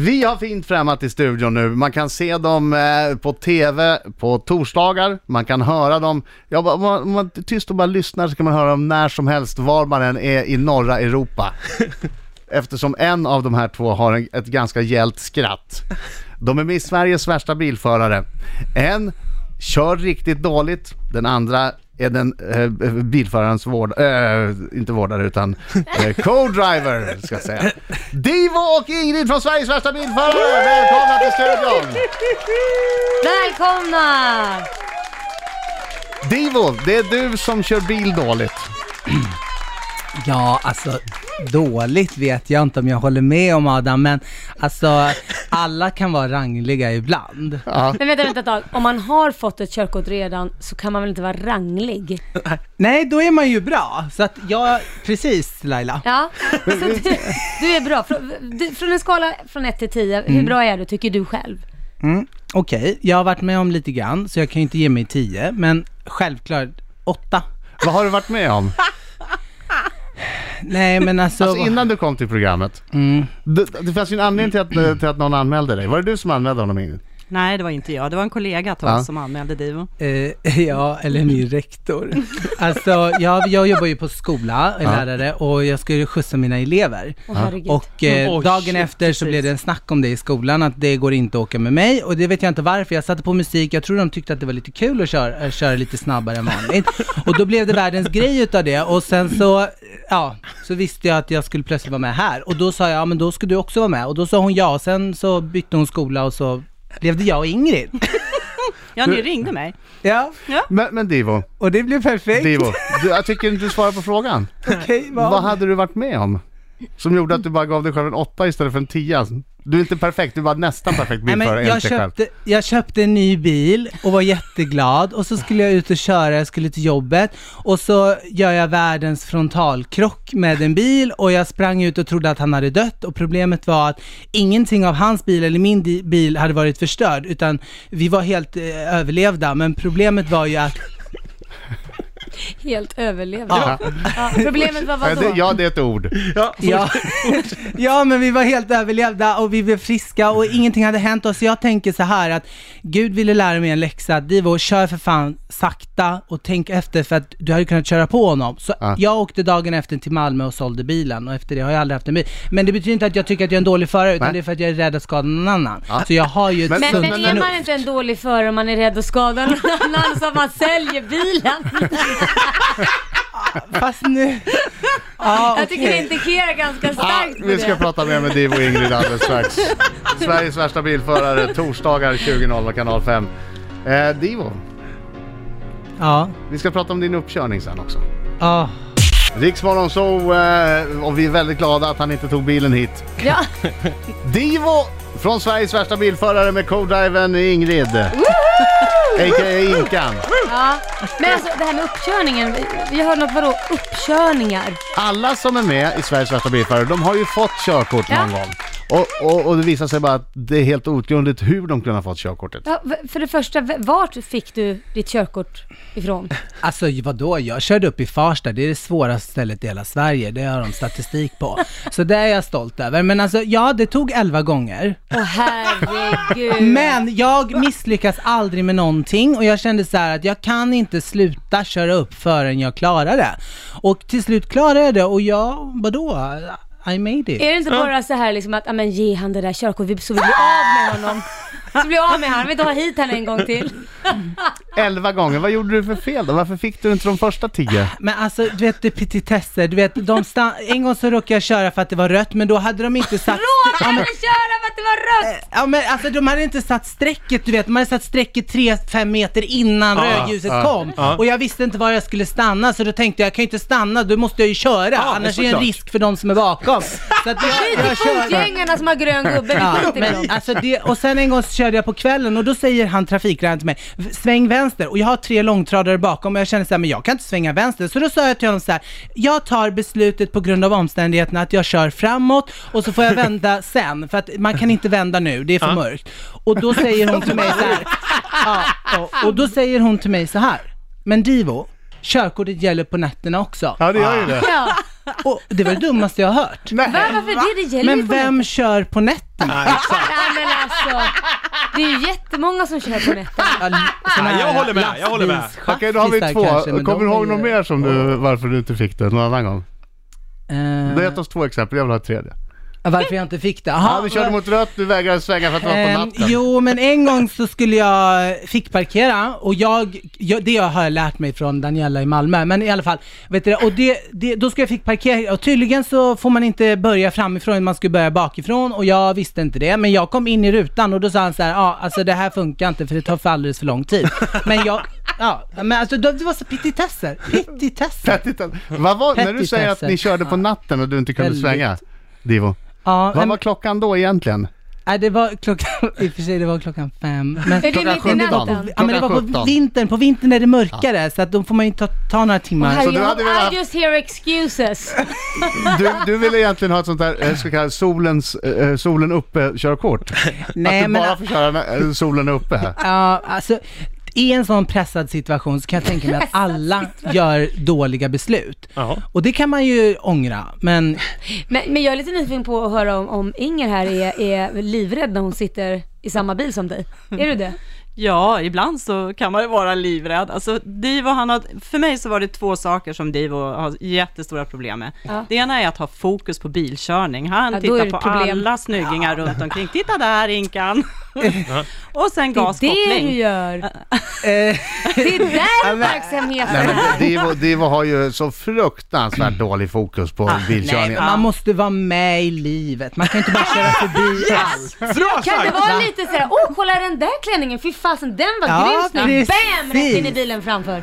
Vi har fint främmat i studion nu. Man kan se dem eh, på TV på torsdagar. Man kan höra dem. Ja, ba- om man, om man är tyst och bara lyssnar så kan man höra dem när som helst, var man än är i norra Europa. Eftersom en av de här två har en, ett ganska gällt skratt. De är med i Sveriges värsta bilförare. En kör riktigt dåligt, den andra är den eh, bilförarens vård, eh, inte vårdare utan eh, co-driver ska jag säga. Divo och Ingrid från Sveriges värsta bilförare, välkomna till studion! Välkomna! Divo, det är du som kör bil dåligt. Ja, alltså dåligt vet jag inte om jag håller med om Adam, men alltså alla kan vara rangliga ibland. Men vänta, vänta ett tag. Om man har fått ett körkort redan så kan man väl inte vara ranglig? Nej, då är man ju bra. Så att jag, precis Laila. Ja, så du, du är bra. Frå- du- Från en skala från 1 till 10, hur Mm. bra är du tycker du själv? Mm, Okej, jag har varit med om lite grann, så jag kan ju inte ge mig 10, men självklart 8. Vad har du varit med om? Nej, men alltså... Alltså innan du kom till programmet. Det, det fanns ju en anledning till att, eh, till att någon anmälde dig. Var det du som anmälde honom Ingrid? Nej, det var inte jag. Det var en kollega till oss Ja. som anmälde Divo. Eh, ja, eller min rektor. Alltså, jag, jag jobbar ju på skola, är Ja. lärare, och jag ska ju skjutsa mina elever. Åh herregud. Och eh, Mm. Oj, dagen shit, efter så precis. blev det en snack om det i skolan, att det går inte att åka med mig. Och det vet jag inte varför. Jag satte på musik, jag tror de tyckte att det var lite kul att köra, att köra lite snabbare än vanligt. Och då blev det världens grej utav det. Och sen så, ja, så visste jag att jag skulle plötsligt vara med här. Och då sa jag, ja men då ska du också vara med. Och då sa hon ja, och sen så bytte hon skola och så blev det jag och Ingrid. Ja, ni ringde mig. Ja, Men, men Divo, och det blev perfekt. Divo, du, jag tycker inte du svarar på frågan. Okej, Vad hade du varit med om? Som gjorde att du bara gav dig själv en åtta istället för en tia? Du är inte perfekt, du är bara nästan perfekt Nej, bilförare men jag, enligt dig själv. köpte, jag köpte en ny bil och var jätteglad och så skulle jag ut och köra, jag skulle till jobbet och så gör jag världens frontalkrock med en bil och jag sprang ut och trodde att han hade dött och problemet var att ingenting av hans bil eller min di- bil hade varit förstörd utan vi var helt eh, överlevda men problemet var ju att Helt överlevd. Ja. Ja, problemet var Ja, det, vadå? ja, det är ett ord. Ja. ja, men vi var helt överlevda och vi blev friska och ingenting hade hänt oss. Så jag tänker så här att Gud ville lära mig en läxa. Divo, kör för fan sakta och tänk efter för att du hade kunnat köra på honom. Så Ja. jag åkte dagen efter till Malmö och sålde bilen och efter det har jag aldrig haft en bil. Men det betyder inte att jag tycker att jag är en dålig förare utan Nej. det är för att jag är rädd att skada någon annan. Ja. Så jag har ju ett Men- sunt Men, men förnuft. är man inte en dålig förare om man är rädd att skada någon annan så att man säljer bilen? Fast nu... Ja, Jag tycker det okej. indikerar ganska Ah, starkt på vi ska det. prata mer med Divo och Ingrid alldeles strax. Sveriges värsta bilförare, torsdagar 20.00 kanal 5. Eh, Divo, Ja. vi ska prata om din uppkörning sen också. Ja. Riksmorgon så eh, och vi är väldigt glada att han inte tog bilen hit. Ja. Divo från Sveriges värsta bilförare med co-driven Ingrid. A.k.a. Inkan. Ja. Men alltså det här med uppkörningen, vi- vi hörde något vadå uppkörningar? Alla som är med i Sveriges värsta bilförare, de har ju fått körkort någon Ja. gång. Och, och, och det visar sig bara att det är helt outgrundligt hur de kunde ha fått körkortet. Ja, v- för det första, v- vart fick du ditt körkort ifrån? Alltså vadå, jag körde upp i Farsta, det är det svåraste stället i hela Sverige, det har de statistik på. Så det är jag stolt över. Men alltså ja, det tog 11 gånger. Åh herregud. Men jag misslyckas aldrig med någonting och jag kände så här att jag kan inte sluta köra upp förrän jag klarar det. Och till slut klarade jag det och jag, vadå, I made it. Är det inte bara så här liksom att, ja men ge han det där körkortet vi- så vi blir av med honom. Så blir vi av med honom, vi vill inte ha hit honom en gång till. Elva gånger, vad gjorde du för fel då? Varför fick du inte de första tio? Men alltså, du vet det är petitesser, du vet, de stan- en gång så råkade jag köra för att det var rött, men då hade de inte satt... Ja, Råkade men- köra för att det var rött! Ja men alltså de hade inte satt strecket du vet, de hade satt strecket 3-5 meter innan rödljuset kom. Och jag visste inte var jag skulle stanna så då tänkte jag, jag kan ju inte stanna, då måste jag ju köra. Annars är det en risk för de som är bakom. Så att jag, jag körde. Fotgängarna som har grön gubbe, vi Ja, skiter i dem. men, alltså det, och sen en gång så körde jag på kvällen och då säger han trafikläraren till mig, "V- sväng vänster. Och jag har tre långtradare bakom och jag känner så här, men jag kan inte svänga vänster. Så då sa jag till honom så här, jag tar beslutet på grund av omständigheterna att jag kör framåt och så får jag vända sen. För att man kan inte vända nu, det är för mörkt. Och då säger hon till mig så här, ja, och, och då säger hon till mig så här, men Divo, körkortet gäller på nätterna också. Ja det gör ju det. Ja. Och det var det dummaste jag har hört. Va, varför det? Det gäller ju Men på nätet. vem kör på nätterna? Nej men alltså. Det är ju jättemånga som kör på nätterna. Ja, såna här jag håller med, jag håller med. lastbilschaffisar Okej, då har vi två. kanske, men Kommer du de är ihåg ju- något mer som du, varför du inte fick det någon annan gång? Du har Eh, gett oss två exempel, jag vill ha ett tredje. varför jag inte fick det? Aha, Ja, du körde vad- mot rött, du vägrade svänga för att det var på Ehm, natten. jo, men en gång så skulle jag fick parkera och jag, jag, det har jag lärt mig från Daniela i Malmö, men i alla fall, vet du, det, och det, det, då skulle jag fick parkera och tydligen så får man inte börja framifrån, man skulle börja bakifrån och jag visste inte det, men jag kom in i rutan och då sa han så här, ja alltså det här funkar inte för det tar för alldeles för lång tid. Men jag, ja, men alltså det det var så pittitesser, pittitesser. Pettitan. Vad var, när du säger att ni Petitesser. körde på natten och du inte kunde Väldigt. svänga, Divo. Ja, Vad men- var klockan då egentligen? nej, det var klockan, i och för sig det var klockan fem, men Är det Klockan mitt i 17. natten? Ja men det Klockan var 17. på vintern, på vintern är det mörkare så att då får man ju ta, ta några timmar. Så du Herregud, hade velat- I just hear excuses. Du, du ville egentligen ha ett sånt där, eh, ska vi kalla det solens, eh, eh, solen uppe-körkort? att Nej du men bara får köra när eh, solen är uppe här. ja, alltså i en sån pressad situation så kan jag tänka mig att alla gör dåliga beslut. Ja. Och det kan man ju ångra, men Men, men jag är lite nyfiken på att höra om, om Inger här är, är livrädd när hon sitter i samma bil som dig. Är du det? Ja, ibland så kan man ju vara livrädd. Alltså, Divo, han har, för mig så var det två saker som Divo har jättestora problem med. Ja. Det ena är att ha fokus på bilkörning. Han Ja, då är tittar det på problem. alla snyggingar runt omkring. Titta där, Inkan! Och sen Det är det gaskoppling. du gör. eh, Det är där uppmärksamheten Nej, men Divo, Divo har ju så fruktansvärt dålig fokus på Ah, bilkörningen. man måste vara med i livet. Man kan inte bara köra förbi allt. Bra Kan det sagt! vara lite såhär, åh kolla den där klänningen, fy fasen den var Ja, grym snygg. Bam! precis. Rätt in i bilen framför.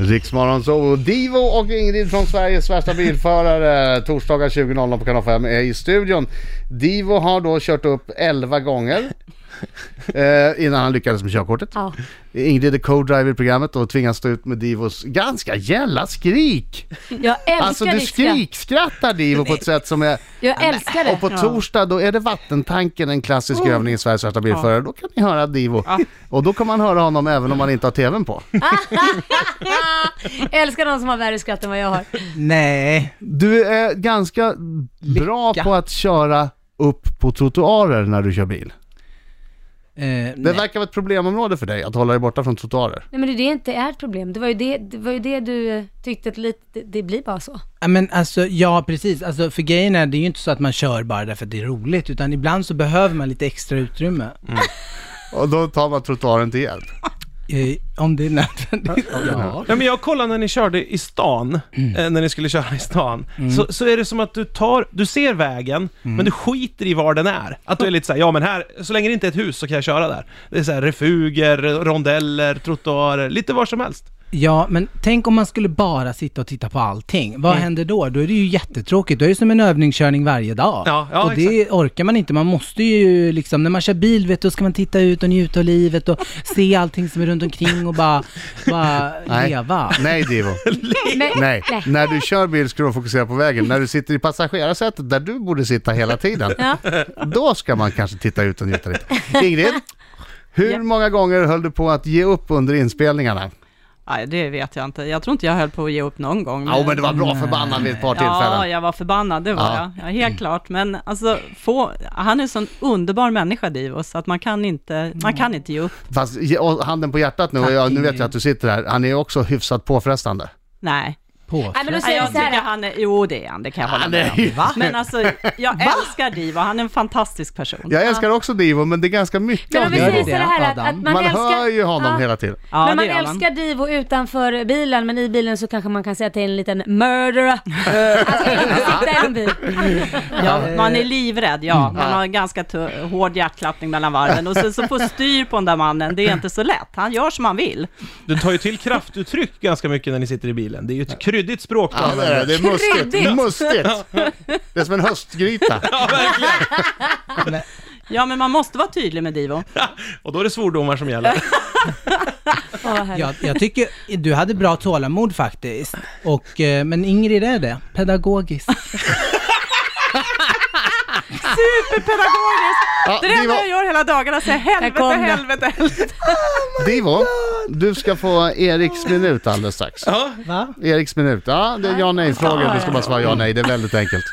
Riksmorgon så Divo och Ingrid från Sveriges värsta bilförare torsdagar 20.00 på kanal 5 är i studion. Divo har då kört upp 11 gånger eh, innan han lyckades med körkortet. Ja. Ingrid är co-driver i programmet och tvingas stå ut med Divos ganska gälla skrik. Jag älskar Alltså du ditt skratt. skrikskrattar Divo på ett sätt som är... Jag älskar det. Och på torsdag då är det vattentanken, en klassisk Oh. övning i Sveriges värsta bilförare. Då kan ni höra Divo. Och då kan man höra honom även om man inte har TVn på. älskar någon som har värre skratt än vad jag har. Nej. Du är ganska bra på att köra upp på trottoarer när du kör bil. Eh, Det nej. verkar vara ett problemområde för dig att hålla dig borta från trottoarer. Nej men det är det inte är ett problem. Det var ju det, det, var ju det du eh, tyckte att lite, det, det blir bara så. Ja, men alltså, ja precis. Alltså, för grejen är, det är ju inte så att man kör bara därför att det är roligt, utan ibland så behöver man lite extra utrymme. Och då tar man trottoaren till hjälp. Eh, om det är nödvändigt. Ja. Nej, men jag kollade när ni körde i stan, Mm. eh, när ni skulle köra i stan, så, så är det som att du tar, du ser vägen, Mm. men du skiter i var den är. Att du är lite såhär, ja men här, så länge det inte är ett hus så kan jag köra där. Det är såhär refuger, rondeller, trottoarer, lite var som helst. Ja, men tänk om man skulle bara sitta och titta på allting. Mm. Vad händer då? Då är det ju jättetråkigt. Då är det som en övningskörning varje dag. Ja, ja, och det orkar man inte. Man måste ju liksom, när man kör bil vet du, då ska man titta ut och njuta av livet och se allting som är runt omkring och bara, bara Nej. leva. Nej Divo, Men, nej. När du kör bil ska du fokusera på vägen. När du sitter i passagerarsätet där du borde sitta hela tiden, då ska man kanske titta ut och njuta lite. Ingrid, hur många gånger höll du på att ge upp under inspelningarna? Nej, det vet jag inte. Jag tror inte jag höll på att ge upp någon gång. Ja, men det var bra förbannat vid ett par Ja, tillfällen. jag var förbannad, det var Ja. jag. Ja, helt klart. Men alltså, få, han är en sån underbar människa, Divo, så att man kan inte, man kan inte ge upp. Fast ge- och handen på hjärtat nu, och jag, nu vet jag att du sitter här, han är ju också hyfsat påfrestande. Nej. På. nej men då Nej, säger vi jag så tycker här. han är, jo det är han, det kan jag hålla med om. Va? Men alltså, jag älskar Divo, han är en fantastisk person. Jag älskar också Divo, men det är ganska mycket Men av om vi Gör Divo. säger det, så här att, att Adam? man, Man älskar... hör ju honom Ja. hela tiden. Ja, men det man gör älskar Divo utanför bilen, men i bilen så kanske man kan säga att det är en liten murderer. alltså, man kan sitta i en bil. Ja, man är livrädd, ja. Man har en ganska tu- hård hjärtklappning mellan varven. Och så, så få styr på den där mannen, det är inte så lätt. Han gör som han vill. Du tar ju till kraftuttryck ganska mycket när ni sitter i bilen. Det är ju ett kryddigt språk du Ja, det är, det. använder. det är mustigt. Kryddigt. mustigt. Det är som en höstgryta. Ja, verkligen. Ja, men man måste vara tydlig med Divo. Och då är det svordomar som gäller. Åh, herregud. Jag, jag tycker du hade bra tålamod faktiskt. Och, eh, men Ingrid är det. Pedagogisk. Superpedagogiskt! Ja, Det är det enda jag Divo, gör hela dagarna, säger Där kom helvete, den. helvete, helvete. Divo, Du ska få Eriks minut alldeles strax. Ja, Va? Eriks minut, ja det är ja nej-frågor. Du ska bara svara ja nej, det är väldigt enkelt.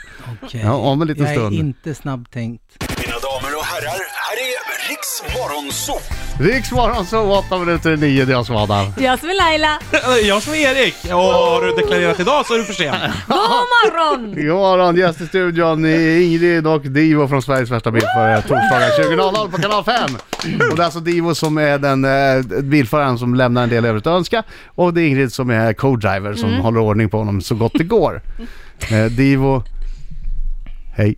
Okej. Ja, om en liten jag stund. är inte snabbtänkt. Mina damer och herrar, här är Riks Morgonzoo! Riks morgonsov, 8 minuter i 9, det är jag som är Adam. Jag som är Laila. jag som är Erik. Och har du deklarerat idag så är du för sen. God morgon! God morgon, gäst i studion är Ingrid och Divo från Sveriges värsta bilförare torsdagar 20.00 på kanal 5. Och det är alltså Divo som är den eh, bilföraren som lämnar en del övrigt att önska och det är Ingrid som är co-driver som håller ordning på honom så gott det går. Eh, Divo, hej.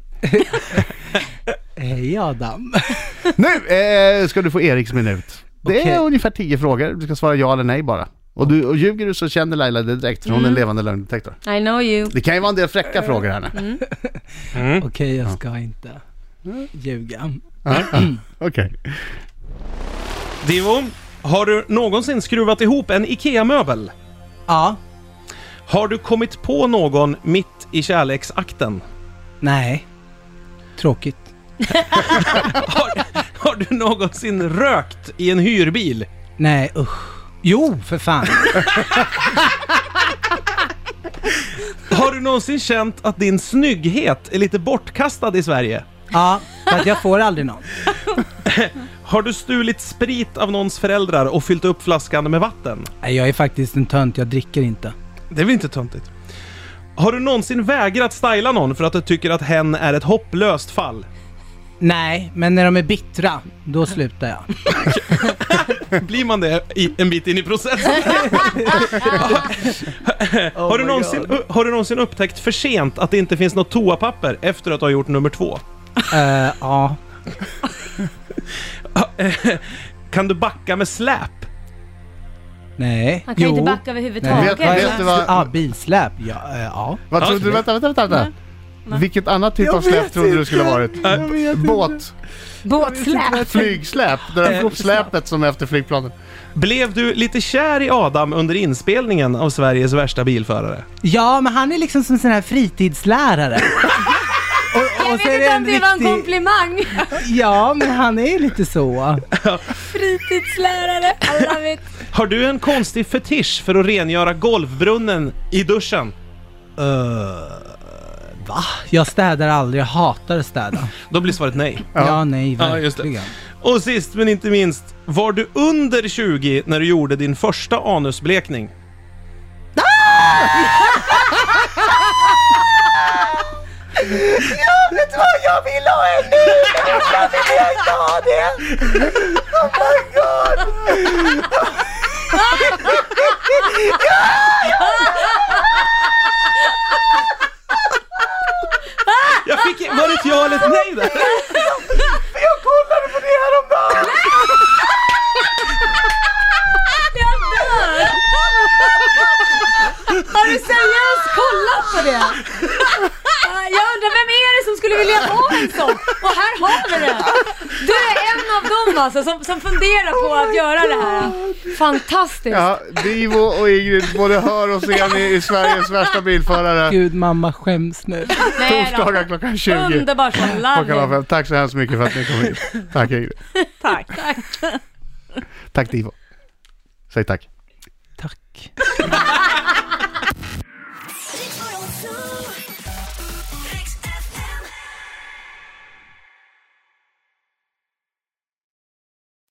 Hej Adam. Nu eh, ska du få Eriks minut. Det är Okej. ungefär 10 frågor, du ska svara ja eller nej bara. Och, du, och ljuger du så känner Laila det direkt för hon är en levande lögndetektor. I know you. Det kan ju vara en del fräcka frågor här nu. Okej, jag ska inte Mm. ljuga. Okej. Divo, har du någonsin skruvat ihop en IKEA-möbel? Ja. Har du kommit på någon mitt i kärleksakten? Nej. Tråkigt. Har, har du någonsin rökt i en hyrbil? Nej, usch. Jo, för fan. Har du någonsin känt att din snygghet är lite bortkastad i Sverige? Ja, för att jag får aldrig någon. Har du stulit sprit av någons föräldrar och fyllt upp flaskan med vatten? Nej, jag är faktiskt en tönt. Jag dricker inte. Det är väl inte töntigt? Har du någonsin vägrat styla någon för att du tycker att hen är ett hopplöst fall? Nej, men när de är bittra, då slutar jag. Blir man det i, en bit in i processen? har, du någonsin, har du någonsin upptäckt för sent att det inte finns något toapapper efter att du har gjort nummer två? Eh, ja. Kan du backa med släp? Nej. Han kan ju inte backa överhuvudtaget. Nej, vet- vet du vad- Ja, bilsläp. Ja, eh, ja. Vad Ja, trodde du? okej. Vänta, vänta, vänta. vänta. Vilket annat typ av släp trodde du skulle varit? Båt, Båtsläp. flygsläp, det där Eh, släpet som är efter flygplanen. Blev du lite kär i Adam under inspelningen av Sveriges värsta bilförare? ja, men han är liksom som en sån här fritidslärare. och, Jag och så är vet inte om det var en riktig- komplimang. Ja, men han är lite så. Fritidslärare. I love it. Har du en konstig fetisch för att rengöra golvbrunnen i duschen? Va? Jag städar aldrig, jag hatar att städa. Då blir svaret nej. Ja, nej, Ja, just det. verkligen. Och sist men inte minst, var du under 20 när du gjorde din första anusblekning? Jag fick, var det ett ja eller ett nej där? Jag dör! Har du seriöst kollat på det? Ah, Jag undrar vem är det som skulle vilja ha en sån? Och här har vi det! Du är en av dem alltså som, som funderar på att göra det här. Fantastiskt! Ja, Divo och Ingrid både hör och ser ni i Sveriges värsta bilförare. Gud, mamma skäms nu. Nej då. Torsdagar klockan 20. Underbar som På Kanal love. fem. Tack så hemskt mycket för att ni kom hit. Tack Ingrid. Tack. Tack Divo. Säg tack. Tack. Riks Morgonzoo.